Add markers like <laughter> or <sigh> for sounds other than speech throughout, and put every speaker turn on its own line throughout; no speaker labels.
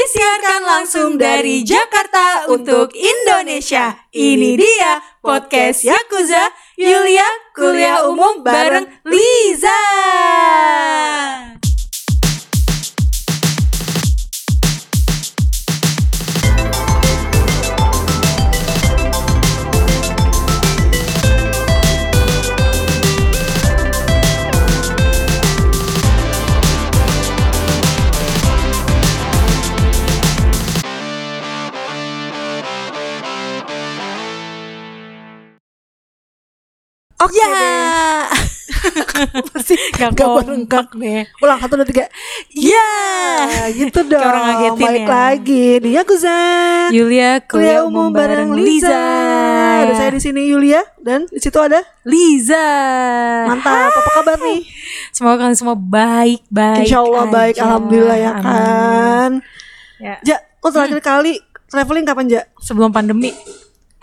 Disiarkan langsung dari Jakarta untuk Indonesia. Ini dia podcast Yakuza Yulia Kuliah Umum bareng Liza.
Oke
Ya.
deh. Masih
kan? <laughs> Gak
gak
kompak.
berengkak nih Ulang satu dua tiga
Ya.
Nah, Gitu dong
orang ngagetin
Balik
ya.
lagi di Yakuza
Yulia
Kuliah Umum bareng Liza Ada saya di sini Yulia Dan di situ ada
Liza. Ah,
Mantap Apa kabar nih?
Semoga kalian semua baik-baik.
Insya Allah baik
aja.
Alhamdulillah ya
Amin.
kan
Ya.
Ja, lo terakhir kali traveling kapan Ja?
Sebelum pandemi.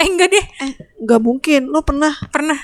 Eh enggak deh,
Eh, gak mungkin Lo pernah
pernah.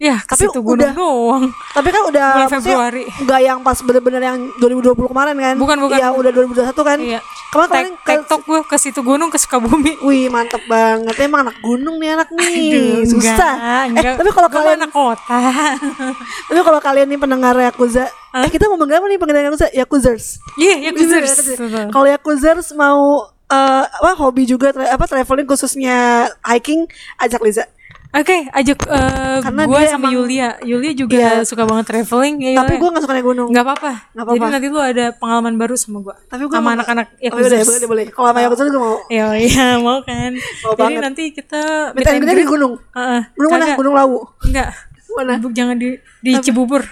Ya, ke
Tapi
situ gunung
udah-
doang.
Tapi kan udah
Bulan Februari.
Gak yang pas bener-bener yang 2020 kemarin kan
Bukan, bukan.
Iya udah 2021 kan
Iya.
Kemarin
Tek
kemarin ke-
tektok gue ke situ gunung ke Sukabumi.
Wih mantep banget Emang anak gunung nih anak nih
Aduh,
Susah
enggak,
Eh,
enggak.
Tapi kalau
Gua mah
kalian
anak kota. <laughs>
Tapi kalau kalian nih pendengar Yakuza eh, Kita mau mengapa nih pendengar Yakuza? Yakuzers
Iya, ya kusers.
Kalau Yakuzers mau eh, apa hobi juga tra- apa traveling khususnya hiking ajak Liza
Oke, ajak eh,
Karena
gua
dia
sama
emang-
Yulia. Yulia juga
Iya.
suka banget traveling. Ya,
tapi gue gak suka naik gunung
nggak apa-apa.
Nggak
Jadi
apa-apa.
nanti lu ada pengalaman baru sama gue.
tapi gue
sama anak-anak ya
oh, boleh boleh boleh, kalau sama Yakuzers gue mau
Iya, iya, <laughs> mau kan.
Mau
Jadi
banget.
nanti kita
minta
meet and
kita di
greet.
gunung
Heeh.
gunung mana
Kagak.
gunung lawu
Enggak.
mana
Bu, jangan di di Cibubur.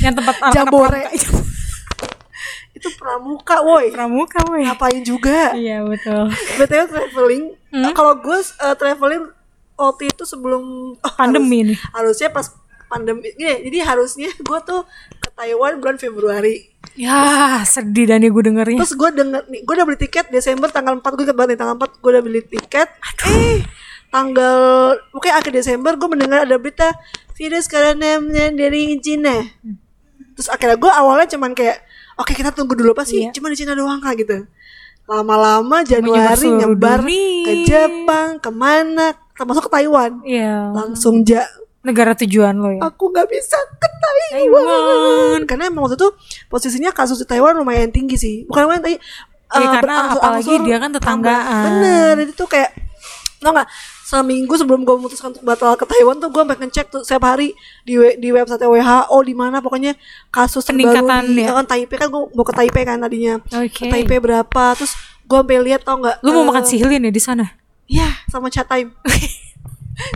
Yang
<laughs>
tempat anak-anak
jabore <laughs> itu pramuka woi
pramuka, weh.
ngapain juga
Iya, betul.
btw traveling
Hmm?
eh, kalau gue eh, traveling waktu itu sebelum <laughs> oh,
Pandemi ini.
harusnya pas pandemi gini, jadi harusnya gue tuh ke Taiwan bulan Februari
Ya, sedih dan gue dengernya.
terus gue denger nih gue udah beli tiket Desember tanggal 4 gue inget banget nih tanggal 4 gue udah beli tiket eh tanggal pokoknya akhir Desember gue mendengar ada berita virus karantina dari Cina terus akhirnya gue awalnya cuman kayak oke kita tunggu dulu pasti
Iya.
cuma di Cina doang lah gitu lama-lama Januari
seluruh
nyebar
dunia.
ke Jepang kemana termasuk ke Taiwan
Iya.
langsung ja
Negara tujuan lo ya.
aku nggak bisa ke Taiwan. karena emang waktu itu posisinya kasus di Taiwan lumayan tinggi sih bukan lumayan tinggi
Ya,
eh,
karena
berangsur-angsur
apalagi dia kan tetanggaan.
tambah. bener itu tuh kayak tau nggak seminggu sebelum gue memutuskan untuk batal ke Taiwan tuh gue sampai ngecek tuh setiap hari di we- di website WHO di mana pokoknya kasus terbaru
Peningkatan
di
ya?
kan Taipei kan gue mau ke Taipei kan tadinya
Oke.
ke Taipei berapa terus gue sampai lihat tau nggak
Lu mau
eh,
makan sihlin ya di sana?
ya sama chat time <laughs>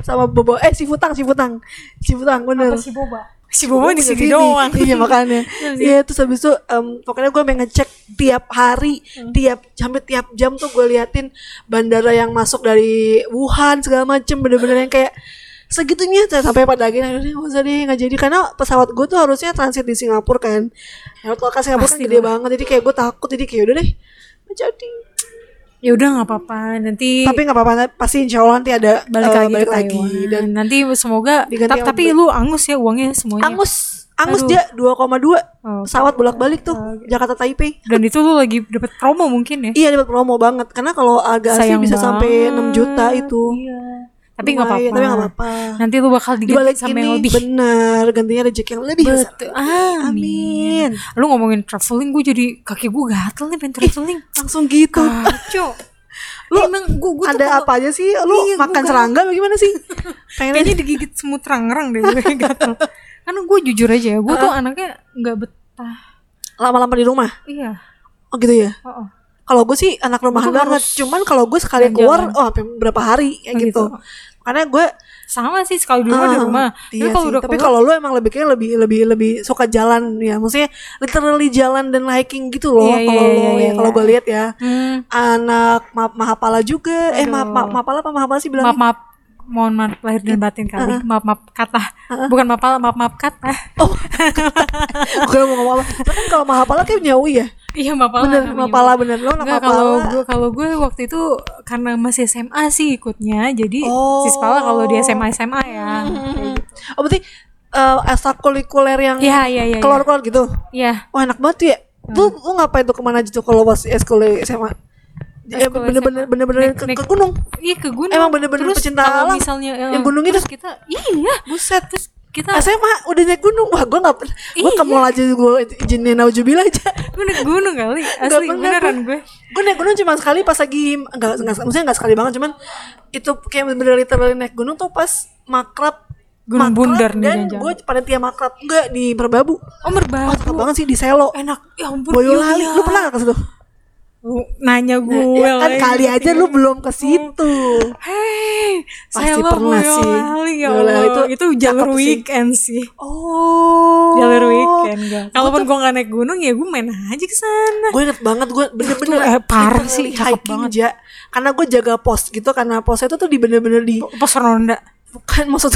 sama bobo eh si futang si futang si futang bener
si boba? Si boba di
punya
sini doang.
<laughs> iya
<laughs>
makanya iya terus habis itu em, pokoknya gue pengen ngecek tiap hari
Hmm.
tiap hampir tiap jam tuh gue liatin bandara yang masuk dari Wuhan segala macem bener-bener yang kayak segitunya Terus sampai pada akhirnya akhirnya nggak usah deh nggak jadi karena pesawat gue tuh harusnya transit di Singapura kan airport lokasi Singapura kan
Pasti
gede
lah.
banget jadi kayak gue takut jadi kayak udah deh nggak jadi
Ya udah nggak apa-apa. Nanti
tapi nggak apa-apa pasti insya Allah nanti ada
Iya. balik
eh,
lagi
balik
ke
lagi
Taiwan.
dan
nanti semoga.
Diganti
Ta-
sama
tapi lu angus ya uangnya semuanya.
angus angus dia 2,2
Oh.
pesawat bolak-balik tuh Jakarta Taipei
Dan itu lu lagi dapat promo mungkin ya?
Iya dapat promo banget karena kalau harga asli
Sayang
bisa sampai
banget.
6 juta itu.
Iya. Tapi nggak
Lumayan,
apa-apa.
Tapi nggak apa-apa.
Nanti lu bakal diganti
Dibalik
sama
ini
yang lebih.
benar gantinya rezeki yang lebih besar.
Betul. Amin.
Amin.
Ah. Lu ngomongin traveling, gue jadi kaki gue gatel nih pengen traveling.
Langsung gitu.
Kacau. Lu emang gue tuh
Ada
kalau-
apa aja sih? Lu
Iya,
makan
gua-
serangga bagaimana sih? <laughs> Pengen
kayaknya digigit semut rang-rang deh gue <laughs> gatel. Karena gue jujur aja ya, gue tuh anaknya nggak betah.
lama-lama di rumah.
Iya.
Oh gitu ya.
Oh, oh.
Kalau gue sih anak rumahan
Gua
banget.
harus
Cuman kalau gue sekali keluar,
jalan-jalan.
oh sampai berapa hari kayak
Oh,
gitu.
gitu.
Karena gue
Sama sih kalau di rumah di
Ah,
rumah.
Iya
Tapi kalau
sih.
udah
Tapi
keluar,
kalau lu emang lebih kayak lebih lebih lebih suka jalan ya. Maksudnya literally jalan dan hiking gitu loh
Iya,
kalau
iya,
lo
iya,
ya.
iya.
Kalau gue lihat ya
hmm,
anak ma mahapala juga eh
Aduh.
ma ma mahapala apa mahapala sih
maaf <laughs>
bilangnya
maaf mohon maaf lahir dan batin kali maaf maaf kata bukan maaf maaf maaf kata <laughs>
oh gue mau ngomong apa Cuman kan kalau mahapala kayak punya UI ya
iya maaf lah
bener
namanya.
mahapala bener lo anak
Enggak
mahapala
kalau gue kalau gue waktu itu karena masih SMA sih ikutnya jadi
Oh.
si Spala kalau di SMA SMA ya
Hmm. oh berarti eh ekstrakurikuler yang
iya iya iya
keluar keluar gitu
iya Hmm.
wah enak banget tuh ya tuh lu ngapain tuh kemana aja tuh kalau pas sekolah SMA eh,
Aku
bener-bener
SMA.
bener-bener
Naik-
ke,
naik-
ke gunung
Iya ke gunung.
Emang bener-bener
Terus
pecinta
kalau
alam.
misalnya eh,
Yang gunung
terus kita iya.
buset
Terus kita
SMA udah naik gunung wah gue nggak pernah gue
Iya.
ke mall aja gue izinin naujubil aja
gue naik gunung kali. Asli
pernah
beneran gue.
gue naik gunung cuma sekali pas lagi nggak nggak maksudnya nggak sekali banget cuman itu kayak bener-bener literally naik gunung tuh pas makrab
Gunung
makrab
bundar nih
dan
jangan-jangan.
gue panitia makrab enggak di Merbabu
Oh
Mantap
merbabu.
banget sih di Selo
Enak. Ya ampun.
Boyolali
iya.
lu pernah nggak ke situ
Lu Nanya gue
Ya kan
lagi.
kali aja lu belum ke situ
Hei,
Pasti
Selo
pernah sih.
Boyolali, ya
Boyolali
Allah.
itu
Itu, jalur
cakep sih.
weekend sih.
oh
Jalur weekend gak. Kalaupun gue gak naik gunung ya gue main aja ke sana.
gue inget banget gue bener-bener
Itu, eh, parah
literally
sih, cakep
hiking Ja. karena gue jaga pos gitu karena posnya itu tuh di bener-bener di
Pos ronda.
bukan maksud <laughs>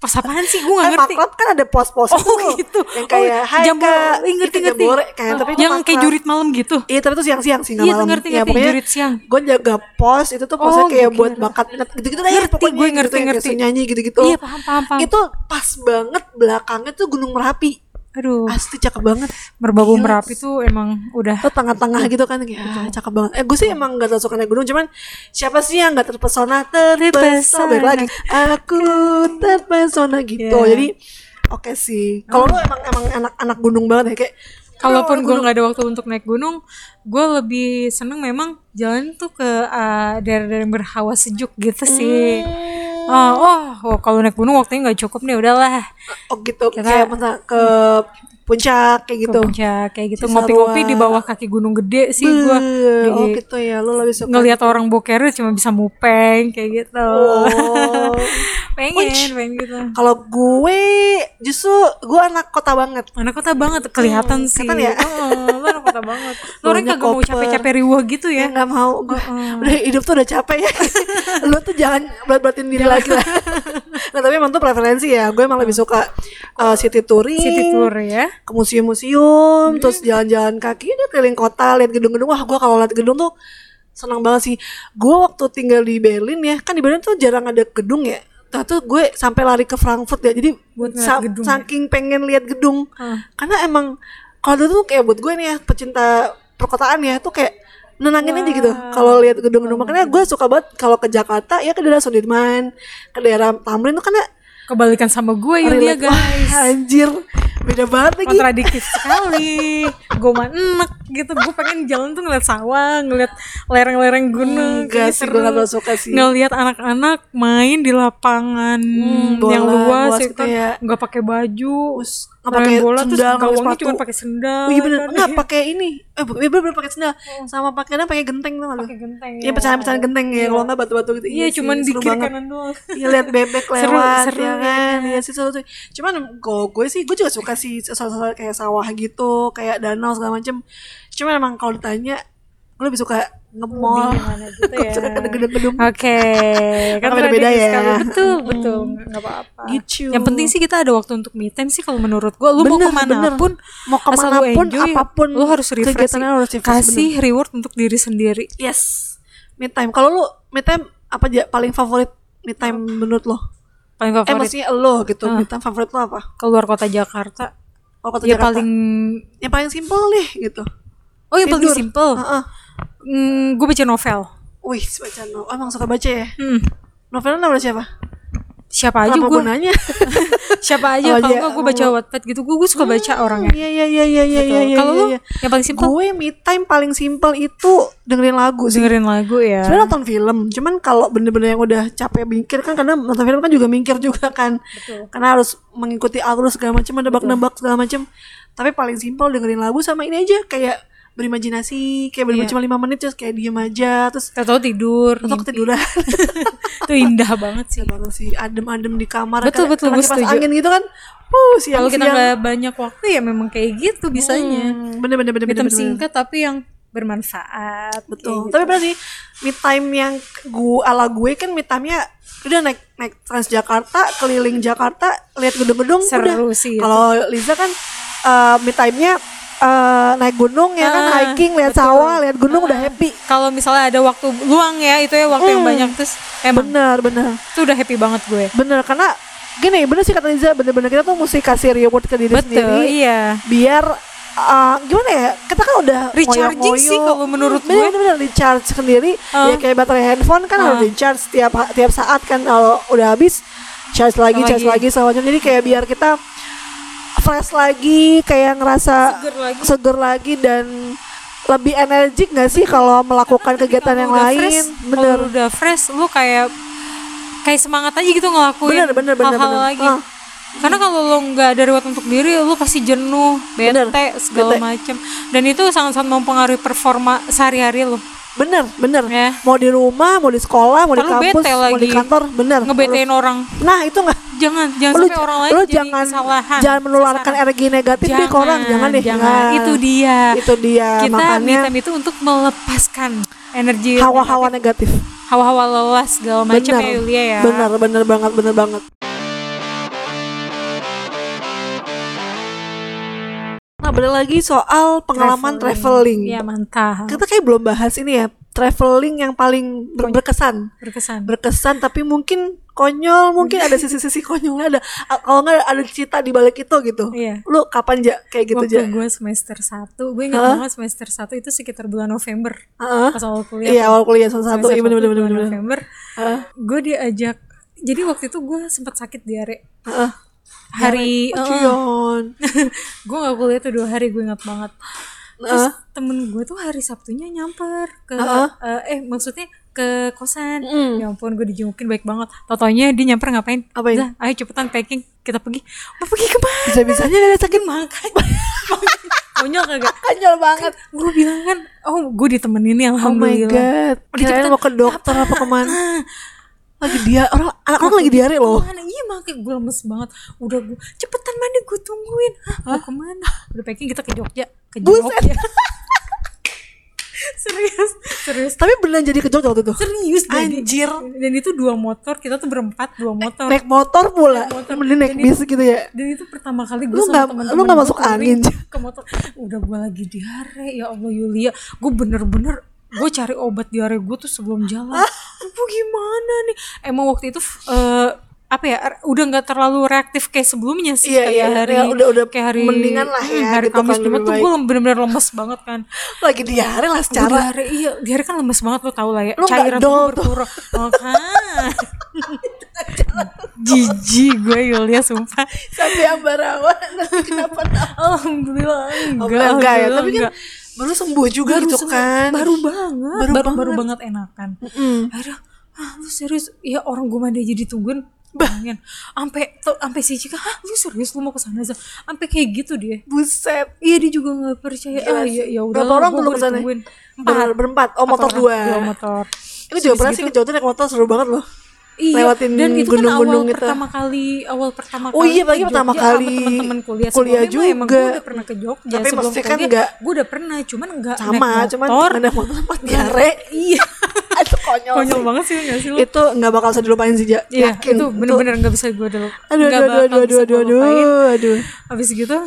Pos apaan sih? Gue
kan
gak ngerti.
makrab kan ada pos-pos
Oh
tuh.
gitu.
yang kayak
Oh,
hai
jambu,
kak
Ih, ngerti
Itu
ngerti.
jambore, kayak, tapi itu
yang kayak
makrab.
jurit malam gitu.
Iya tapi itu siang-siang sih nggak
Iya,
malam.
ngerti,
ya,
ngerti. Jurit siang.
Gue jaga pos itu tuh
Oh,
posnya kayak
gue
buat
kira.
bakat minat gitu-gitu deh.
Ngerti,
pokoknya
gue
gitu,
ngerti,
yang kayak
ngerti.
suruh nyanyi gitu-gitu.
Iya paham paham paham.
Itu pas banget belakangnya tuh Gunung Merapi.
Aduh,
Asli cakep banget.
berbau
gila.
merapi tuh emang udah.
Tuh tengah-tengah
Iya.
gitu kan kayak ah, cakep banget. Eh gue sih emang gak terlalu suka naik gunung cuman siapa sih yang gak terpesona terpesona
Terpesona.
Balik lagi. Aku terpesona gitu.
Iya. Nah.
Jadi oke sih. Kalau lu emang emang anak-anak gunung banget ya kayak
Kalaupun gue nggak ada waktu untuk naik gunung, gue lebih seneng memang jalan tuh ke eh, daerah-daerah yang berhawa sejuk gitu sih.
Hmm.
Ah, oh, oh, kalau naik gunung waktunya nggak cukup nih udahlah
oh gitu
Kita-
kayak masa ke puncak kayak
ke
gitu.
puncak kayak gitu
Cisarua.
ngopi-ngopi di bawah kaki gunung gede sih gue
Eh, oh gitu ya, lu lebih suka.
ngelihat orang bokernya cuma bisa mupeng kayak gitu
Oh.
<laughs> pengen pengen gitu
Kalau gue justru gue anak kota banget.
anak kota banget kelihatan sih
Hmm, kelihatan ya?
Heeh, lu anak kota banget lu orang
Baunya
kagak mau
koper.
capek-capek riwah gitu ya
Ya nggak mau gue. Udah hidup tuh udah capek
<laughs>
ya. lu tuh jangan berat-beratin diri lagi lah. nah, tapi emang tuh preferensi ya. Gue emang lebih suka uh, city touring.
city tour ya
ke museum-museum,
Hmm.
terus jalan-jalan kaki, udah keliling kota, lihat gedung-gedung. Wah, gue kalau lihat gedung tuh senang banget sih. Gue waktu tinggal di Berlin ya, kan di Berlin tuh jarang ada gedung ya. Nah, tuh gue sampai lari ke Frankfurt ya. Jadi
Buat ngeliat
sa-
gedung ya? Ah.
saking pengen lihat gedung.
Hah.
Karena emang kalau dulu tuh kayak buat gue nih ya, pecinta perkotaan ya, tuh kayak nenangin aja gitu kalau lihat gedung-gedung makanya gue suka banget kalau ke Jakarta ya ke daerah Sudirman ke daerah Tamrin tuh karena
kebalikan sama gue ya dia
relate. Wah,
guys
anjir beda banget lagi
kontradiktif sekali gue mah enek gitu gue pengen jalan tuh ngeliat sawah ngeliat lereng-lereng gunung
Enggak
kayak
sih,
seru.
gue gak terlalu suka sih.
ngeliat anak-anak main di lapangan
Hmm, bola,
yang luas,
luas
gitu kan
kayak-
nggak pakai baju
Terus nggak pakai
main bola
sendal, nggak
terus
pakai
gawangnya
sepatu.
cuma pakai sendal
Oh iya bener,
kan.
enggak pakai ini Eh bu- iya bener, bener pakai sendal Sama pakainya pakai genteng tuh
Hmm. Pakai genteng
Iya pecahan-pecahan genteng ya, kalau enggak batu-batu gitu
iya
sih,
cuman di
seru
kiri
banget.
kanan
<laughs>
doang
Iya lihat bebek
<laughs> Seru,
lewat
seru,
ya kan Iya sih seru sih Cuman kalau gue sih, gue juga suka sih soal-soal kayak sawah gitu Kayak danau segala macem Cuman emang kalau ditanya, gue lebih suka nge-mall
gimana
<laughs>
gitu
Gue
ya.
suka ke gedung-gedung
Oke, kan beda
beda-beda ya.
Sekali. Betul, betul, nggak apa-apa.
Gitu.
Ah, Yang penting sih kita ada waktu untuk me time sih kalau menurut gua. Lu mau
Bener,
kemana
bener.
pun,
Mau
asal
kemana
lu
pun,
enjoy,
apapun
lu harus refresh.
kegiatannya
sih.
harus refresh,
Kasih reward untuk diri sendiri.
Yes, me time Kalau lu me time, apa aja paling favorit me time menurut lo?
Paling
Eh
favorit
maksudnya lo gitu, me time favorit lo apa?
keluar kota Jakarta.
Kalau kota
ya
Jakarta.
paling
yang paling simpel nih gitu.
Oh, yang paling
Tidur. Ah.
simple.
Heeh.
Hmm, gue baca novel.
Wih, baca novel. Oh, emang suka baca ya?
Hmm.
Novelnya namanya siapa?
Siapa aja
Kenapa
gue
gue nanya?
<laughs> siapa aja
Oh,
kalau
iya,
enggak gue baca Wattpad gitu. Gue suka baca orangnya.
Iya iya iya iya
Gitu.
iya iya.
kalau
iya,
lu
iya.
yang paling simple
gue me time paling simpel itu dengerin lagu sih.
dengerin lagu ya.
Sebenarnya nonton film, cuman kalau bener-bener yang udah capek mikir kan karena nonton film kan juga mikir juga kan, karena harus mengikuti alur segala macam, nebak-nebak segala macam. Tapi paling simpel dengerin lagu sama ini aja kayak berimajinasi, kayak bener cuma lima menit terus kayak diem aja, terus
Tahu tidur.
atau
Iya. ngimpi.
ketiduran.
Itu indah banget sih.
Banget sih, adem-adem di kamar.
Betul,
Karena-
betul,
karena
gue
kipas
setuju.
angin gitu kan, uh siang
Kalau kita nggak banyak waktu ya memang kayak gitu bisanya.
bener-bener bener-bener.
Hitam singkat tapi yang bermanfaat.
Betul. Tapi benar sih, me time yang gue ala gue kan me time-nya udah naik naik Transjakarta, keliling Jakarta, lihat gedung-gedung
Seru
udah.
sih itu.
Kalau Liza kan eh me time-nya eh, naik gunung ya kan,
Ah,
hiking, lihat sawah, lihat gunung udah happy.
Kalau misalnya ada waktu luang ya itu ya waktu yang
Mm.
banyak terus emang
Bener, bener.
itu udah happy banget gue.
Bener karena gini, bener sih kata Liza, bener-bener kita tuh mesti kasih reward ke diri
Betul,
sendiri
iya.
biar eh, gimana ya kita kan udah
Recharging sih
moyo-moyo.
kalau menurut
bener,
gue.
bener, bener, recharge sendiri
Ah.
ya kayak baterai handphone kan harus
Ah.
di charge tiap ha- tiap saat kan kalau udah habis charge lagi charge
Lagi.
lagi segala macam. jadi kayak biar kita fresh lagi kayak ngerasa
Seger lagi.
seger lagi dan lebih energik gak sih kalau melakukan kegiatan yang
udah
lain
fresh,
bener
kalau udah fresh lu kayak kayak semangat aja gitu ngelakuin
Bener, bener, bener,
hal-hal
bener.
lagi
Ah.
karena kalau lo nggak ada ruang untuk diri lu pasti jenuh bete
Bener,
segala
bete.
macem dan itu sangat-sangat mempengaruhi performa sehari-hari lo
bener bener
Ya.
mau di rumah mau di sekolah mau di
Kalau
kampus
bete
mau di
lagi.
kantor bener
ngebetein orang
nah itu nggak
jangan jangan
lu,
sampai orang lain
lu
jadi
jangan
kesalahan
jangan menularkan energi negatif deh ke orang jangan deh
jangan
Nah,
itu dia
itu dia
kita
makanya
me time itu untuk melepaskan energi
hawa-hawa negatif
hawa-hawa lelah segala macam
benar
ya Yulia ya
benar benar banget benar banget nah benar lagi soal pengalaman traveling,
ya mantap
kita kayak belum bahas ini ya traveling yang paling ber- berkesan
berkesan
berkesan tapi mungkin konyol mungkin ada sisi-sisi konyolnya ada a- kalau nggak ada cerita di balik itu gitu
Iya.
lu kapan ja kayak gitu
waktu
ja
gue semester 1 gue ingat
Hah?
banget semester 1 itu sekitar bulan November
Heeh.
pas awal kuliah
iya awal kuliah sama satu
Semester
iya bener
satu
bener bener
bulan
bener
November
Heeh.
gue diajak jadi waktu itu gue sempat sakit diare
Heeh.
hari
Oh,
eh,
Cion.
<laughs> gue gak kuliah tuh dua hari gue ingat banget terus temen gue tuh hari Sabtunya nyamper ke eh, eh maksudnya ke kosan
Mm.
ya ampun gue dijengukin baik banget tatonya dia nyamper ngapain
Apain?
Zah, ayo cepetan packing kita pergi mau pergi kemana
bisa bisanya ada sakit
makanya <laughs> konyol kagak
konyol banget
gue bilang kan oh gue ditemenin nih
oh my
alhamdulillah
god
Udah
kirain
cepetan. Ah.
mau ke dokter apa kemana lagi dia orang anak orang lagi diare
<laughs>
loh
Kemana? iya makanya gue lemes banget udah gue cepetan mandi gue tungguin Hah, mau kemana udah packing kita ke Jogja ke
Buset.
Jogja <laughs> serius serius
tapi beneran jadi ke Jogja waktu itu
serius jadi.
Anjir.
dan itu dua motor kita tuh berempat dua motor
naik motor pula mending naik bis gitu ya
dan itu pertama kali gue
Lu
sama
nggak-
teman-teman
lu nggak
gua
masuk
touring
angin, Cak?
ke motor udah gue lagi diare ya allah Yulia gue bener-bener gue cari obat diare gue tuh sebelum jalan
Ah.
gue gimana nih emang waktu itu eh, apa ya r- udah nggak terlalu reaktif kayak sebelumnya sih
Iya,
kayak
iya,
hari
ya udah- udah
kayak hari
mendingan lah ya,
hmm, hari
gitu
Kamis
kan
Jumat
lebih
tuh
baik.
gue bener-bener lemes banget kan
lagi diare lah
Gua
secara
diare iya diare kan lemes banget lo tau lah ya
Lu nggak
cairan
dol
tuh berkurang Oh, kan?
<laughs>
<laughs> Makan. jijik gue Yulia sumpah
sampai ambarawa <laughs> kenapa
Alhamdulillah enggak,
Oh, enggak, enggak ya
alhamdulillah,
tapi kan
enggak.
baru sembuh juga
baru
gitu
sembuh,
kan
baru banget
Baru
baru baru,
banget.
banget enakan
Mm-mm.
aduh ah lu serius ya orang gue mandi aja ditungguin bayangin sampai tuh sampai si cika ah lu serius lu mau kesana aja sampai kayak gitu dia
buset
iya dia juga nggak percaya ah ya ya udah
Berapa
lah,
orang
gua-
lu
gua
kesana?
ditungguin. Empat.
Ber- berempat oh
Empat
motor
orang.
dua
dua motor
itu juga pernah sih ke Jawa Tengah naik motor seru banget loh
Iya,
lewatin
dan itu kan
gunung-gunung
awal
gitu.
pertama kali awal pertama
Oh
kali
iya,
ke
apalagi pertama
Jogja sama
kali
teman-teman kuliah
kuliah
Sebelumnya emang
juga.
gue udah pernah ke Jogja
Tapi
sebelum
maksudnya kan
kuliah,
nggak-
gue udah pernah cuman enggak
sama
naik
cuman
motor
ada motor tempat diare
<laughs>
<laughs>
iya
itu konyol,
konyol
sih.
banget sih nggak sih lu
itu nggak bakal bisa dilupain sih Ja.
Iya,
yakin
itu bener-bener nggak bisa gue dulu
aduh aduh aduh aduh aduh aduh aduh aduh
habis gitu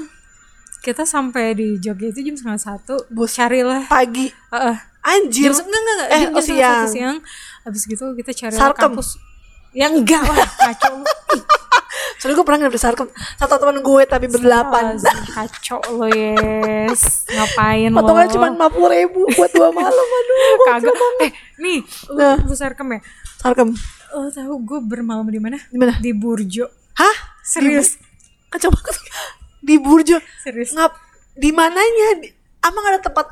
kita sampai di Jogja itu jam setengah satu
Bus.
carilah
pagi
Heeh. jam
anjir
se- enggak enggak enggak.
Eh,
jam, jam
oh,
setengah satu
siang.
siang habis gitu kita cari
Sarkem.
kampus ya enggak lah <laughs> kacau lu. Ih,
soalnya gue pernah nggak besar satu teman gue tapi berdelapan
Azim, kacau lo yes ngapain lo
potongan Nah, cuma lima puluh ribu buat dua malam aduh gua
kagak eh nih lu
Nah.
lu sarkem ya
sarkem
lo Oh, tahu gue bermalam di mana
Di mana?
di Burjo
hah
serius
kacau banget di Burjo
serius
ngap di mananya Di- emang ada tempat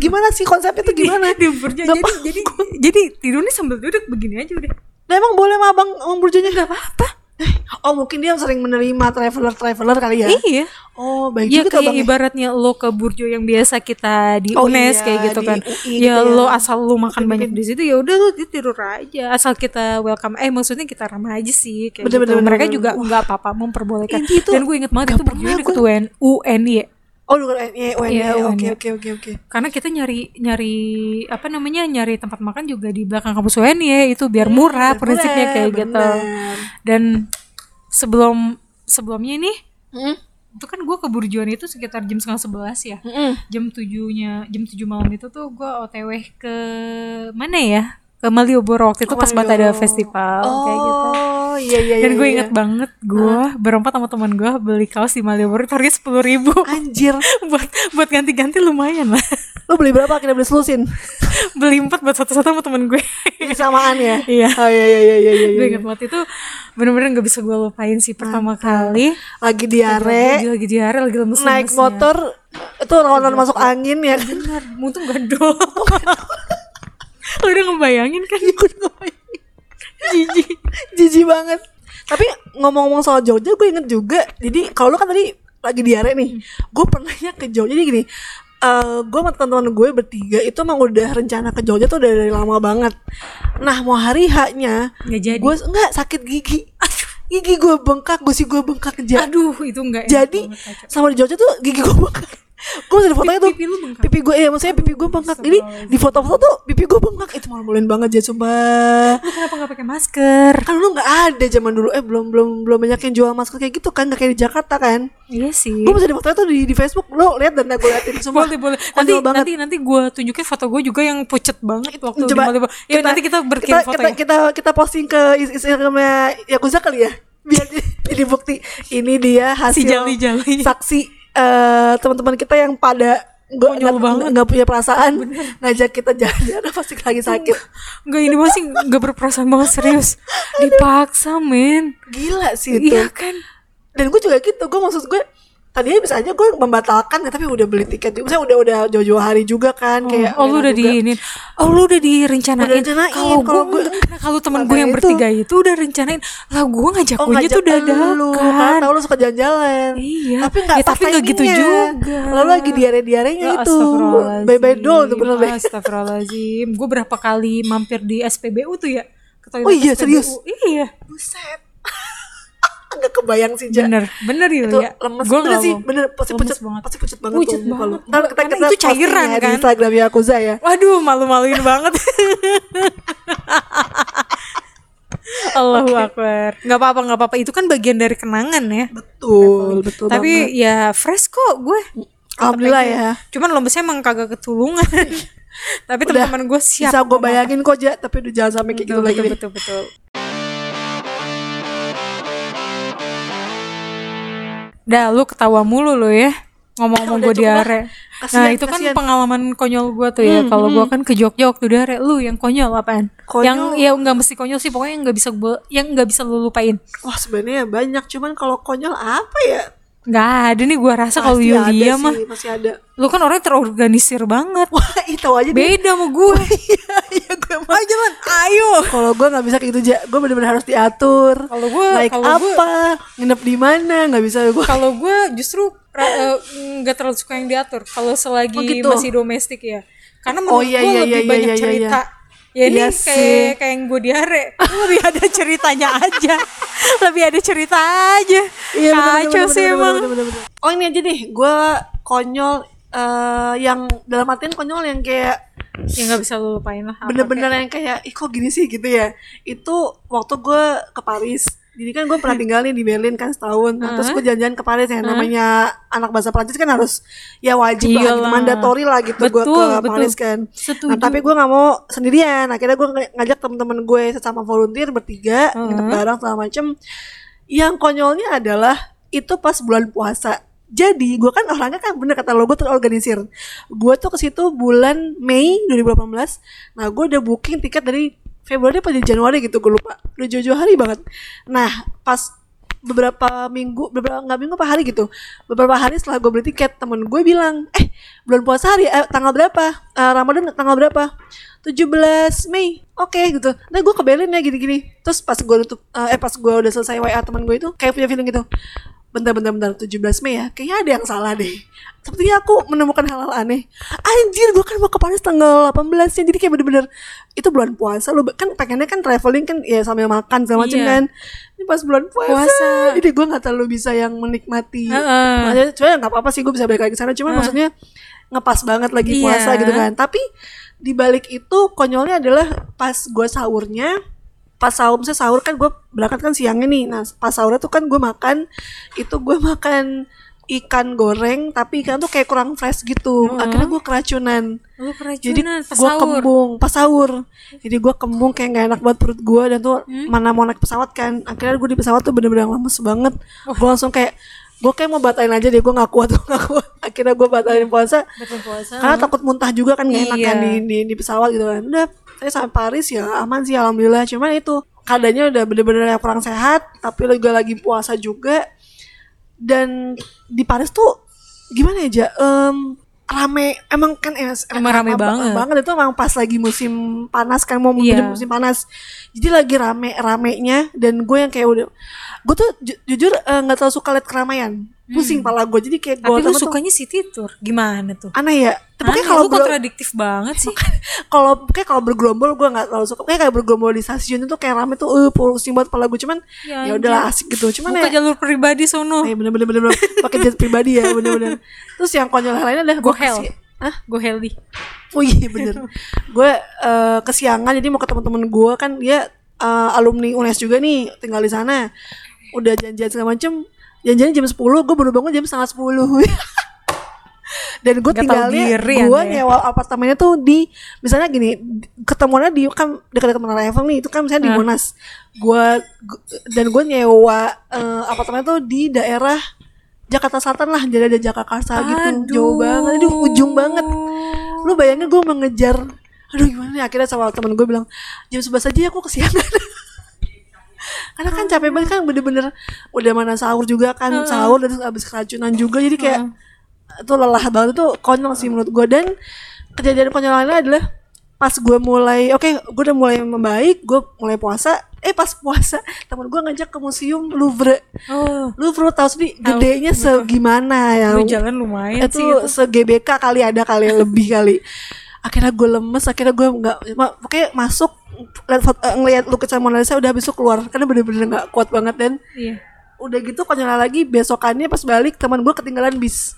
gimana sih konsepnya tuh gimana
di Burjo
Nggak
jadi jadi jadi tidurnya sambil duduk begini aja udah
Lah Nah, emang boleh mah abang emang Burjonya nggak apa-apa oh mungkin dia sering menerima traveler traveler kali ya
iya
oh baik
Iya
juga tuh
kayak
abangnya.
ibaratnya lo ke Burjo yang biasa kita di
Oh,
UNES
iya,
kayak gitu
di
kan.
UI
ya
gitu ya.
lo asal lo makan banyak di situ ya udah lo dia tidur aja asal kita welcome eh maksudnya kita ramah aja sih kayak
Bener,
gitu.
bener,
Mereka
bener,
juga nggak apa-apa memperbolehkan.
Ini tuh
Dan gue inget banget itu Burjo
pernah
deket
gue-
UN UNI ya.
oh dulu eh
Iya,
UN oke
UN.
oke oke oke
Karena kita nyari nyari apa namanya nyari tempat makan juga di belakang kampus UN ya itu biar murah
Bener,
prinsipnya kayak gitu.
Iya, bener.
Dan sebelum sebelumnya nih
Mm-mm.
itu kan gue ke Burjoan itu sekitar jam setengah sebelas ya.
Mm-mm.
jam tujuhnya jam tujuh malam itu tuh gue otw ke mana ya ke Malioboro waktu itu pas banget ada festival kayak gitu
oh Oh iya iya.
Dan
iya,
gue
iya.
inget banget gue berempat sama teman gue beli kaos di Malioboro harga sepuluh ribu
Anjir,
<laughs> buat buat ganti-ganti lumayan lah. <laughs>
lo beli berapa? Kita beli selusin.
beli empat buat satu-satu sama temen gue.
Kesamaan ya.
Iya.
Oh iya iya iya iya. iya,
gue
iya.
inget banget itu bener-bener gak bisa gue lupain sih pertama kali.
Lagi diare,
Lagi, lagi diare lagi lemes
naik motor itu orang-orang masuk angin ya kan.
Bener, untung <laughs> gadol.
<laughs>
Lu udah ngebayangin kan
Iya,
jijik.
Jijik banget. Tapi ngomong-ngomong soal Jogja, gue inget juga. Jadi kalau lo kan tadi lagi diare
Hmm.
nih, gue pernahnya ke Jogja. Jadi gini, eh gue sama teman-teman gue bertiga itu emang udah rencana ke Jogja tuh dari, dari lama banget. Nah mau hari haknya,
Nggak jadi.
Gue nggak sakit gigi. Gigi gue bengkak, gusi gue bengkak ja-
Aduh, itu enggak
Jadi sama di Jogja tuh gigi gue
<laughs>
bengkak. Gue masih di fotonya tuh
Pipi lu bengkak?
pipi gue ya maksudnya pipi gue bengkak jadi di foto-foto tuh pipi gue bengkak itu malu-maluin banget jadi sumpah
Lu kenapa gak pakai masker?
kan lu nggak ada zaman dulu eh belum belum belum banyak yang jual masker kayak gitu kan nggak kayak di Jakarta kan
Iya sih.
gue bisa di foto tuh di, di Facebook lo lihat dan gue liatin semua
Boleh, boleh.
Konyol
Nanti
banget.
nanti nanti gue tunjukin foto gue juga yang pucet banget waktu
Coba
di Malibu. Ya nanti kita berkirim
kita,
foto
kita,
ya.
kita kita posting ke is- Instagramnya Yakuza kali ya <laughs> biar di- jadi bukti ini dia hasil
Si jali-jali.
saksi eh, teman-teman kita yang pada nggak
Konyol
nggak-
banget.
nggak punya perasaan ngajak kita jalan-jalan <laughs> pasti lagi sakit
Enggak ini masih enggak berperasaan banget
<laughs>
serius. Dipaksa, men.
gila sih itu
Iya kan?
dan gue juga gitu gue maksud gue tadinya bisa aja gue membatalkan ya, tapi udah beli tiket juga. Misalnya udah udah jauh-jauh hari juga kan kayak
oh lu
merah
udah
juga.
diinin oh lu udah direncanain,
Udah direncanain,
kalau
kalau
gue
gue-
nah, kalau temen gue yang
Makanya
bertiga itu udah rencanain lah gue ngajak
Oh
gue
ngajak
tuh
lu kan
dadakan
tau lu suka jalan-jalan
Iya.
Tapi gak
Ya, tapi nggak gitu juga.
Lalu lagi diare-diarenya
Ya,
itu
astagfirullahaladzim.
Bye-bye doll tuh bener deh
Astagfirullahaladzim Gue berapa kali mampir di SPBU tuh ya ke toilet
Oh iya,
SPBU.
serius?
Iya
Buset <laughs> Gak kebayang sih Ja
Bener Bener gitu
Itu
ya
lemes
Gua
bener
nggak
sih
mau.
Bener pasti
Lemes
pucet
banget.
Pasti pucet banget
Pucet
tuh muka lu.
banget.
Ntar kita,
Karena
kita
itu cairan,
posting ya Di
kan?
Instagramnya Yakuza ya
Waduh malu-maluin banget
<laughs>
Allahu Akbar Gak apa-apa gak apa-apa Itu kan bagian dari kenangan ya
Betul Betul
Tapi
banget
ya fresh kok gue
Alhamdulillah ya
Cuman lombesnya emang kagak
<laughs>
ketulungan. Tapi teman-teman gue siap.
Bisa gue bayangin kok Ja Tapi udah jangan sampai kayak gitu
betul,
lagi
betul,
deh.
betul, betul. Dah lu ketawa mulu lo ya.
Eh,
Ngomong-ngomong gue diare.
Kasian,
Nah itu kan
kasian.
pengalaman konyol gue tuh ya. Kalau gue kan ke Jogja waktu diare, lu yang konyol apaan?
Hmm, Konyol.
Yang ya nggak mesti konyol sih, pokoknya yang nggak bisa gua- yang nggak bisa lu lupain.
Wah sebenarnya ya banyak Cuman kalau konyol apa ya
Nggak ada nih gue rasa kalau
Pasti ada
Yulia
sih,
mah.
Masih ada
Lu kan orangnya terorganisir banget.
Wah <laughs> itu aja deh
Beda sama gue.
Iya iya gue mah
Ayo jalan, ayo.
kalau gue nggak bisa kayak gitu aja gue bener-bener harus diatur
Kalau gue-
naik
kalau gue-
apa nginep di mana nggak bisa
<laughs>
gue
Kalau gue justru ra- eh, nggak terlalu suka yang diatur. Kalau selagi
Oh, gitu.
masih domestik ya, karena
Oh,
menurut
iya,
gue
iya,
lebih
iya,
banyak
iya, iya,
cerita.
iya.
Ya ini
Iya sih.
kayak kayak yang gue
<laughs>
diare, lebih ada ceritanya aja, lebih ada cerita aja.
Iya,
Kacau sih emang.
oh ini aja deh gue konyol eh, yang dalam artian konyol yang kayak
Ya nggak bisa lu lupain lah. apa
bener-bener yang kayak ih kok gini sih gitu ya itu waktu gue ke Paris jadi kan gue pernah tinggal nih di Berlin kan setahun Nah, terus gue jalan-jalan ke Paris yang namanya anak bahasa Prancis kan harus ya wajib lah, gitu,
Iyalah.
mandatory lah gitu gue ke
Betul, betul.
Paris kan
Setuju.
nah tapi gue nggak mau sendirian akhirnya gue ng- ngajak temen-temen gue sesama volunteer bertiga nginep bareng segala macem yang konyolnya adalah itu pas bulan puasa jadi gue kan orangnya kan bener kata lo gue terorganisir gue tuh ke situ bulan Mei 2018 nah gue udah booking tiket dari Februari apa dari Januari gitu gue lupa udah jauh-jauh hari banget nah pas beberapa minggu beberapa nggak minggu apa hari gitu beberapa hari setelah gue beli tiket temen gue bilang eh bulan puasa hari eh, tanggal berapa Eh, Ramadan tanggal berapa 17 Mei oke gitu nah gue ke Berlin ya gini-gini terus pas gue tutup eh pas gue udah selesai WA temen gue itu kayak punya feeling gitu bentar bentar bentar 17 Mei ya kayaknya ada yang salah deh sepertinya aku menemukan hal-hal aneh anjir gue kan mau ke Paris tanggal 18 ya jadi kayak bener-bener itu bulan puasa lu kan pengennya kan traveling kan ya sambil makan segala macem
Iya.
kan ini pas bulan puasa,
Puasa.
jadi gue nggak terlalu bisa yang menikmati
Heeh.
maksudnya sebenarnya nggak apa-apa sih gue bisa balik lagi ke sana cuman maksudnya ngepas banget lagi
Iya.
puasa gitu kan tapi di balik itu konyolnya adalah pas gue sahurnya pas sahur saya sahur kan gue berangkat kan siangnya nih nah pas sahurnya tuh kan gue <laughs> makan itu gue makan ikan goreng tapi ikan tuh kayak kurang fresh gitu akhirnya gue keracunan
Lu keracunan
jadi
pas
gue
sahur.
kembung pas sahur jadi gue kembung kayak nggak enak buat perut gue dan tuh
Hmm?
mana mau naik pesawat kan akhirnya gue di pesawat tuh bener-bener lemes banget gue langsung kayak gue kayak mau batalin aja deh gue nggak kuat <laughs> gue nggak kuat akhirnya gue batalin puasa
Batalin puasa,
karena takut muntah juga kan nggak enak kan
Iya.
di, di di pesawat gitu kan udah saya sampai Paris ya aman sih alhamdulillah cuman itu keadaannya udah bener-bener yang kurang sehat tapi juga lagi puasa juga dan di Paris tuh gimana ya Ja? Em, rame emang kan eh,
Emang rame banget.
itu emang pas lagi musim panas kan mau
Iya.
menuju musim panas jadi lagi rame ramenya dan gue yang kayak udah gue tuh ju- jujur eh, nggak terlalu suka liat keramaian pusing pala gue jadi kayak gue
Hmm. Tapi lu
sama tuh
sukanya city tour. Gimana tuh?
aneh ya tapi kayak
Aneh,
kalau
lu
gue
kontradiktif banget sih.
kalau kayak kalau bergerombol gue nggak terlalu suka kayak kayak bergerombol di stasiun itu kayak rame tuh eh pusing buat kepala gue cuman
Ya
ya udahlah asik gitu cuman
Buka
ya
jalur pribadi sono.
eh, bener bener bener, bener. pakai jet pribadi ya bener bener terus yang konyol lainnya adalah gue
Gohel.
kesi-
Hah? Gohel di.
oh iya bener gue eh, kesiangan jadi mau ke teman-teman gue kan dia eh, alumni UNES juga nih tinggal di sana udah janjian segala macem janjian jam 10 gue baru bangun jam setengah 10 <laughs> dan
Nggak
gue
tahu
tinggalnya
diri,
gue
Anda ya.
nyewa apartemennya tuh di misalnya gini di- ketemuannya di kan dekat-dekat Menara Eiffel nih itu kan misalnya di Monas gue dan gue nyewa eh, apartemennya tuh di daerah Jakarta Selatan lah jadi ada Jakarta gitu jauh banget di ujung banget lu bayangin gue mengejar aduh gimana nih akhirnya sama temen gue bilang jam 11 aja ya aku kesiangan <laughs> karena kan capek banget kan bener-bener udah mana sahur juga kan sahur dan abis keracunan juga jadi kayak itu lelah banget itu konyol sih menurut gue dan kejadian konyol lainnya adalah pas gue mulai oke gue udah mulai membaik gue mulai puasa eh pas puasa temen gue ngajak ke museum Louvre
Oh,
Louvre tau sendiri gedenya segimana ya
lu jalan lumayan
itu
sih. gitu. itu.
se GBK kali ada kali lebih kali akhirnya gue lemes akhirnya gue nggak ma- pokoknya masuk lihat foto- eh, ngelihat lukisan Mona Lisa udah habis itu keluar karena bener-bener nggak kuat banget dan
Iya.
udah gitu konyol lagi besokannya pas balik teman gue ketinggalan bis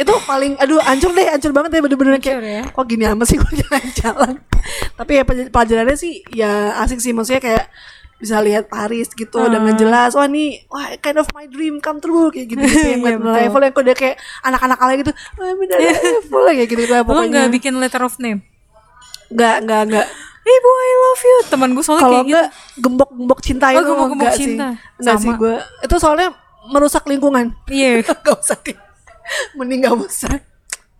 itu paling aduh hancur deh hancur banget deh bener-bener kayak
Hancur ya.
kok gini amat sih gue <laughs> jalan-jalan tapi ya pelaj- pelajarannya sih ya asik sih maksudnya kayak bisa lihat Paris gitu
Ah.
dengan jelas wah nih wah kind of my dream come true kayak gitu gitu
<laughs>
yang
Iya,
yeah, level yang kode kayak anak-anak kalian gitu wah
<laughs>
bener level kayak gitu lah
Lu
pokoknya
nggak bikin letter of name?
nggak nggak nggak
Ibu I love you. Temen gue soalnya
kalau
kayak gitu.
enggak gembok-gembok cinta
Oh,
itu
gembok-gembok
enggak
cinta.
sih enggak sih
Sama.
gue itu soalnya merusak lingkungan
Iya.
gak usah deh mending gak usah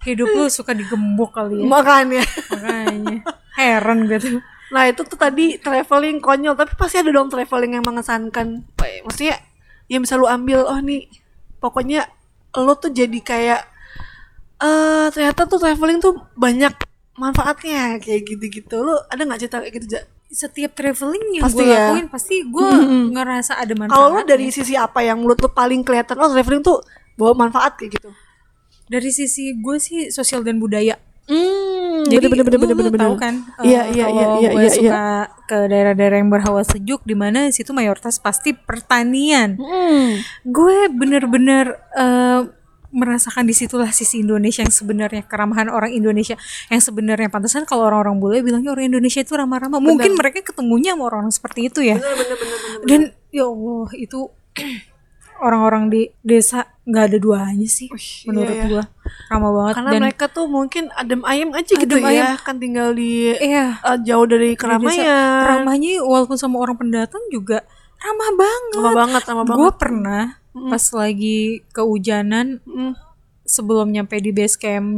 Hidup lu suka digembok kali ya.
makanya
Makanya. Heran gue tuh.
nah itu tuh tadi traveling konyol tapi pasti ada dong traveling yang mengesankan Kayak, maksudnya yang bisa lu ambil oh nih pokoknya lo tuh jadi kayak eh ternyata tuh traveling tuh banyak manfaatnya kayak gitu-gitu lu ada nggak cerita kayak gitu Ja?
Setiap traveling yang
Pasti
gue
ya.
lakuin pasti gue ngerasa ada manfaat.
kalau lu dari sisi apa yang menurut lu paling kelihatan oh traveling tuh bawa manfaat kayak gitu
dari sisi gue sih sosial dan budaya.
hmm,
Jadi
bener bener
lu-
bener
lu
bener bener
tahu kan? eh,
iya iya iya
kalau
iya
gue
iya iya
suka ke daerah-daerah yang berhawa sejuk, di mana situ mayoritas pasti pertanian.
Hmm.
Gue bener-bener eh, merasakan disitulah sisi Indonesia yang sebenarnya keramahan orang Indonesia yang sebenarnya pantesan kalau orang-orang bule bilangnya orang Indonesia itu ramah-ramah mungkin mereka ketemunya sama orang-orang seperti itu ya dan ya Allah itu <clears throat> orang-orang di desa nggak ada duanya sih menurut
iya ya.
gua ramah banget
karena
dan
mereka tuh mungkin adem ayem aja gitu
Adem
ya kan tinggal di
iya
eh, jauh dari
Desa
keramaian
ramahnya walaupun sama orang pendatang juga ramah banget.
lama banget lama banget
Gue pernah pas lagi kehujanan
Mm,
sebelum nyampe di base camp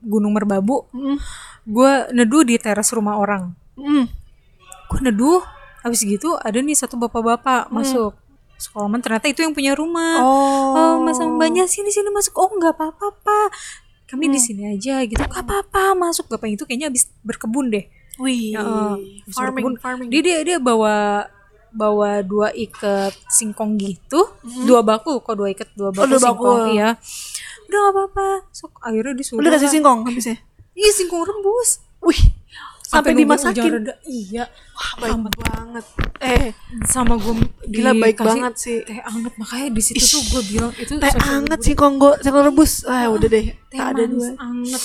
Gunung Merbabu,
mm,
gue neduh di teras rumah orang.
mm.
Gue neduh, habis gitu ada nih satu bapak-bapak masuk. Sekolaman ternyata itu yang punya rumah.
Hmm. oh
Oh, mas sama mbaknya sini sini masuk. Oh, nggak apa-apa, Pak. Kami
Hmm.
di sini aja gitu. Nggak apa-apa, masuk. Bapak itu kayaknya habis berkebun deh.
wih
Ya, eh,
farming
berkebun.
farming
dia dia dia bawa bawa dua ikat singkong gitu dua bakul kok dua ikat dua bakul
Hmm. Oh, dua
singkong
bakul.
iya udah gak apa-apa sok akhirnya disuruh
udah kasih
lah.
singkong habisnya
iya singkong rebus
wih sampai
nunggu hujan
dimasakin
reda. iya
wah baik banget eh
sama gue
Gila, baik banget sih.
teh anget makanya di situ tuh gue bilang itu
teh
sosial
anget singkong gue singkong rebus ah udah deh
teh
tak ada
manis
dua
anget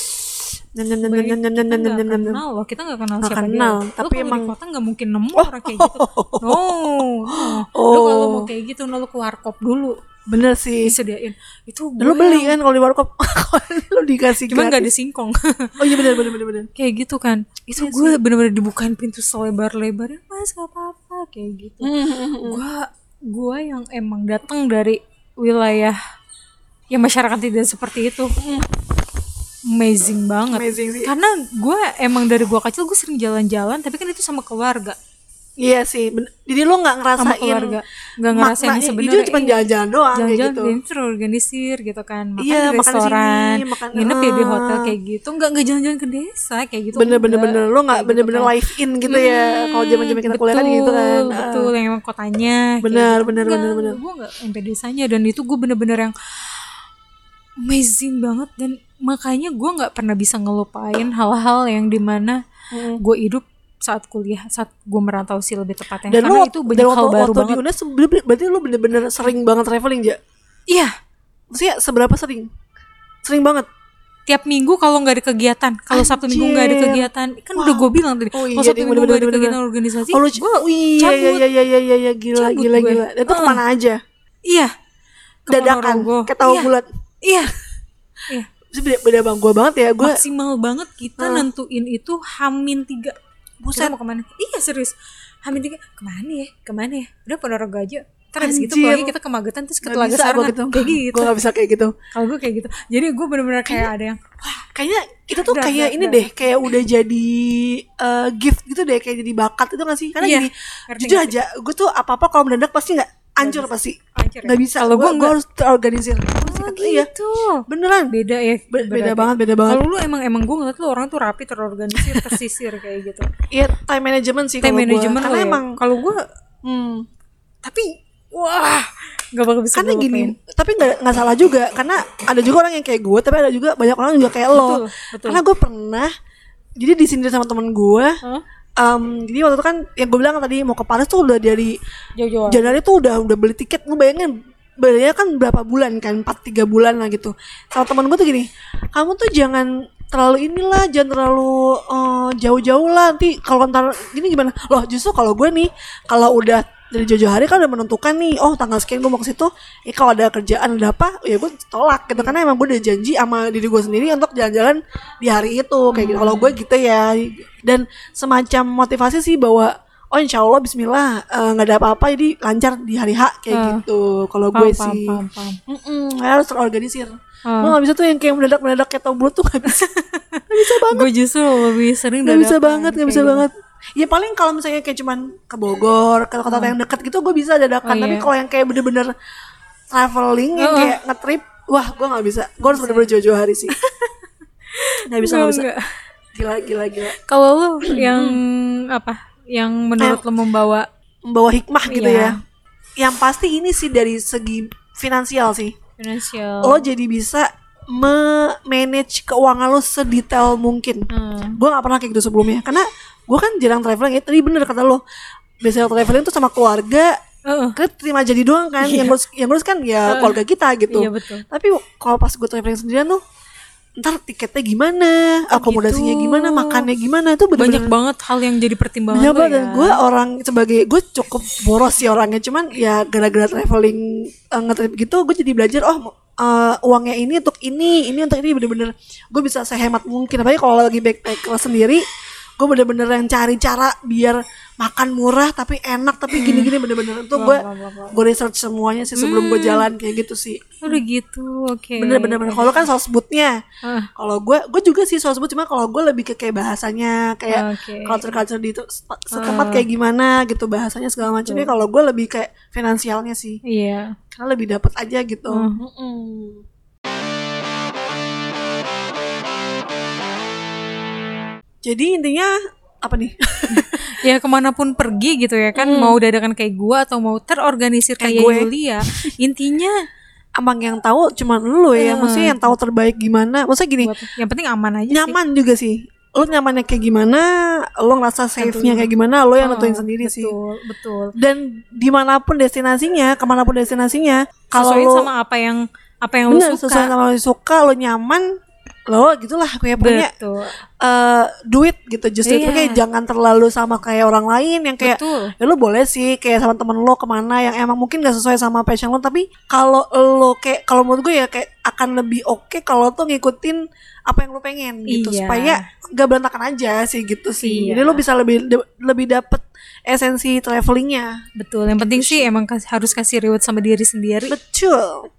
Nyam, nyam, nyam,
Baik,
nyam, nyam, nyam,
kita
nyam,
nggak
nyam, nyam, nyam.
kenal loh kita nggak kenal
Nggak
siapa
kenal,
dia
tapi
tapi lu emang
emang- Oh.
di kota nggak mungkin nemu orang kayak gitu no, no. lu kalau mau kayak gitu no, lu ke warkop dulu
bener sih
disediain itu
dan lu
gue
beli kan kalau di warkop <laughs> lu dikasih
cuma nggak
gratis. Iya
ada singkong
oh iya bener bener bener bener
<laughs> kayak gitu kan itu gue bener-bener dibukain pintu selebar-lebarnya mas gak apa-apa kayak gitu
Mm-hmm.
gue gue yang emang datang dari wilayah yang masyarakat tidak seperti itu amazing banget
amazing sih
karena gue emang dari gue kecil gue sering jalan-jalan tapi kan itu sama keluarga
iya sih bener. jadi lu nggak
sama
ngerasain
keluarga nggak ngerasain
maknanya.
sebenarnya iya.
itu cuma jalan-jalan doang gitu kayak
jalan-jalan
gitu
dan terorganisir gitu kan makan di
Iya, makan di sini,
restoran
makan-
nginep ya di hotel
Ah.
kayak gitu nggak nggak jalan-jalan ke desa kayak gitu
bener-bener
enggak.
bener lo nggak bener-bener live in gitu ya kalau zaman zaman kita kuliah kan gitu kan
Betul, betul yang emang kotanya kayak
Benar, benar,
Enggak,
benar, benar.
gue nggak sampai desanya dan itu gue bener-bener yang amazing banget dan makanya gue nggak pernah bisa ngelupain hal-hal yang dimana
Hmm.
gue hidup saat kuliah saat gue merantau sih lebih tepatnya
dan
karena
lo
itu banyak hal baru
waktu di
banget
UNES bener-bener- berarti lo bener-bener sering banget traveling ja
iya
maksudnya seberapa sering sering banget
tiap minggu kalau nggak ada kegiatan kalau sabtu minggu nggak ada
Anjir.
kegiatan kan udah gue bilang tadi
Oh
kalau
iya,
sabtu
ding,
minggu nggak ada
bener-bener,
kegiatan
bener-bener.
organisasi
Kalau oh, iya, iya
cabut.
iya iya iya iya iya, gila
Cabut
gila
gue.
gila. Itu kemana aja?
iya Ke
Dadakan,
Ponorogo.
ketawa
Iya,
bulat.
iya iya
Itu Beda, beda bang gue banget ya gue.
maksimal banget kita nentuin itu hamin tiga buset mau kemana iya serius hamin tiga kemana ya kemana ya udah ponorogo aja terus gitu
Anjir.
pulangnya kita ke Magetan terus ke
Gak
Telaga
bisa gue
Sarangan
gitu.
kayak gitu
Gue gak bisa kayak gitu.
kalau gue kayak gitu jadi gue bener-bener kayak
Iya.
ada yang
Oh, Kayaknya kita tuh
Udah,
kayak
udah,
ini
udah.
deh, kayak udah jadi eh, gift gitu deh, kayak jadi bakat itu gak sih? Karena
Iya,
gini,
ngerti,
jujur
ngerti.
aja, gue tuh apa-apa kalau mendadak pasti nggak hancur pasti.
Hancur ya?
Gak bisa.
Kalau
Kalau
gue
gue
nggak.
harus terorganisir. Gua harus
oh,
ikat. Iya,
gitu
beneran.
beda ya
Be- beda
berarti.
banget, beda banget.
kalau lu emang emang gue ngeliat lu orang tuh rapi
<laughs>
terorganisir tersisir kayak gitu
Iya, time management sih.
time
kalau gua.
management
Karena
lu ya.
emang,
kalau gue
hmm,
tapi wah gak bakal bisa
karena
gua
gini
lupain.
tapi nggak nggak salah juga karena ada juga orang yang kayak gue tapi ada juga banyak orang juga kayak lo
Betul, betul.
karena gue pernah jadi disindir sama temen gue
Hah?
Em, jadi waktu itu kan yang gue bilang tadi mau ke Paris tuh udah dari
jauh-jauh
Januari tuh udah udah beli tiket gue bayangin belinya kan berapa bulan kan 4 3 bulan lah gitu sama temen gue tuh gini kamu tuh jangan terlalu inilah jangan terlalu eh, jauh-jauh lah nanti kalau ntar gini gimana loh justru kalau gue nih kalau udah dari jauh-jauh hari kan udah menentukan nih oh tanggal sekian gue mau ke situ eh kalau ada kerjaan ada apa ya gue tolak gitu karena emang gue udah janji sama diri gue sendiri untuk jalan-jalan di hari itu kayak gitu kalau gue gitu ya dan semacam motivasi sih bahwa oh insya Allah Bismillah eh, nggak ada apa-apa jadi lancar di hari H kayak
Ah.
gitu kalau
paham,
gue
paham,
sih
paham, paham.
Mm-mm, kayak harus terorganisir
Ah.
lo nggak bisa tuh yang kayak mendadak mendadak kayak tau bulat tuh
<laughs>
nggak bisa nggak bisa banget
gue justru lebih sering
nggak bisa
dadakan,
banget nggak
kayak
bisa
gitu.
banget ya paling kalau misalnya kayak cuman ke Bogor ke kota-kota yang dekat gitu gue bisa
Ah.
dadakan
Oh,
tapi
iya.
kalau yang kayak bener-bener traveling yang
Oh, oh.
kayak ngetrip wah gue nggak bisa gue harus bener-bener jauh-jauh hari
<laughs>
sih nggak bisa
Enggak,
nggak bisa
enggak.
gila gila gila
kalau lu
<clears throat>
yang apa yang menurut lo membawa
membawa hikmah gitu
Iya.
ya yang pasti ini sih dari segi finansial sih
finansial
lo jadi bisa memanage keuangan lo sedetail mungkin.
Hmm.
Gue nggak pernah kayak gitu sebelumnya, karena gue kan jarang traveling. Ya, tadi bener kata lo, biasanya traveling tuh sama keluarga,
Heeh.
kan terima jadi doang kan. Yang ngurus, yang ngurus kan ya keluarga kita gitu.
Hmm. Iya, betul.
Tapi kalau pas gue traveling sendirian tuh, ntar tiketnya gimana, akomodasinya
gitu.
gimana, makannya gimana, itu bener-bener Iya,
banyak banget hal yang jadi pertimbangan lo
banyak banget
ya.
gue orang sebagai gue cukup boros sih orangnya cuman ya gara-gara traveling eh, ngetrip gitu gue jadi belajar oh mo- eh, uangnya ini untuk ini ini untuk ini bener-bener gue bisa sehemat mungkin apalagi kalau lagi backpacker sendiri gue bener-bener yang cari cara biar makan murah tapi enak tapi gini-gini bener-bener itu gue gue research semuanya sih sebelum gue jalan kayak gitu sih
udah gitu oke
bener-bener bener. kalau kan soal sebutnya
Ah.
kalau gue gue juga sih soal sebut cuma kalau gue lebih ke kayak bahasanya kayak
Oke. Ah.
culture culture di itu sep- setempat kayak gimana gitu bahasanya segala macam Tapi kalau gue lebih kayak finansialnya sih
iya
karena lebih dapat aja gitu
Hmm.
jadi intinya apa nih <laughs>
ya kemanapun pergi gitu ya kan mau dadakan kayak gue atau mau terorganisir kayak,
Mm. gue.
Yulia intinya
emang yang tahu cuman lu ya maksudnya yang tahu terbaik gimana maksudnya gini
Ah. buat yang penting aman aja sih
nyaman juga sih lo nyamannya kayak gimana lo ngerasa safe-nya kayak gimana lo yang nentuin sendiri sih
Ah, betul betul
dan dimanapun destinasinya kemanapun destinasinya kalau
sesuaiin
lo-
sama apa yang apa yang lu
bener
suka
sesuai sama lo yang suka lo nyaman lo gitulah kayak punya
Betul.
eh, duit gitu justru
Iya.
itu kayak jangan terlalu sama kayak orang lain yang kayak
Betul.
ya lo boleh sih kayak sama temen lo kemana yang emang mungkin gak sesuai sama passion lo tapi kalau lo kayak kalau menurut gue ya kayak akan lebih oke kalau tuh ngikutin apa yang lo pengen gitu
Iya.
supaya gak berantakan aja sih gitu sih
Iya.
jadi lo bisa lebih de- lebih dapet esensi travelingnya
Betul. Yang penting sih emang kas- harus kasih reward sama diri sendiri.
betul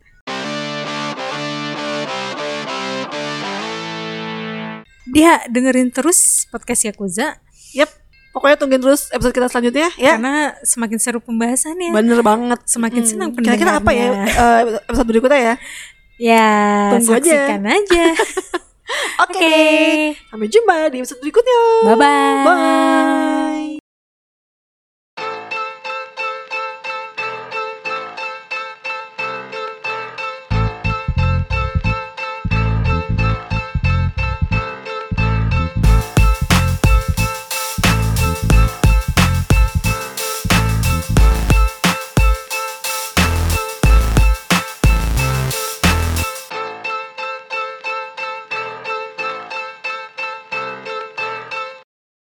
Dia Ya, dengerin terus podcast Yakuza
yep pokoknya tungguin terus episode kita selanjutnya ya
karena semakin seru pembahasannya.
bener banget
Semakin senang
Hmm, kira-kira apa ya
pendengarnya.
eh, episode berikutnya ya
Ya,
Tunggu aja.
saksikan
<laughs>
aja.
oke
<laughs> Oke.
Sampai jumpa di episode berikutnya.
Bye-bye.
Bye.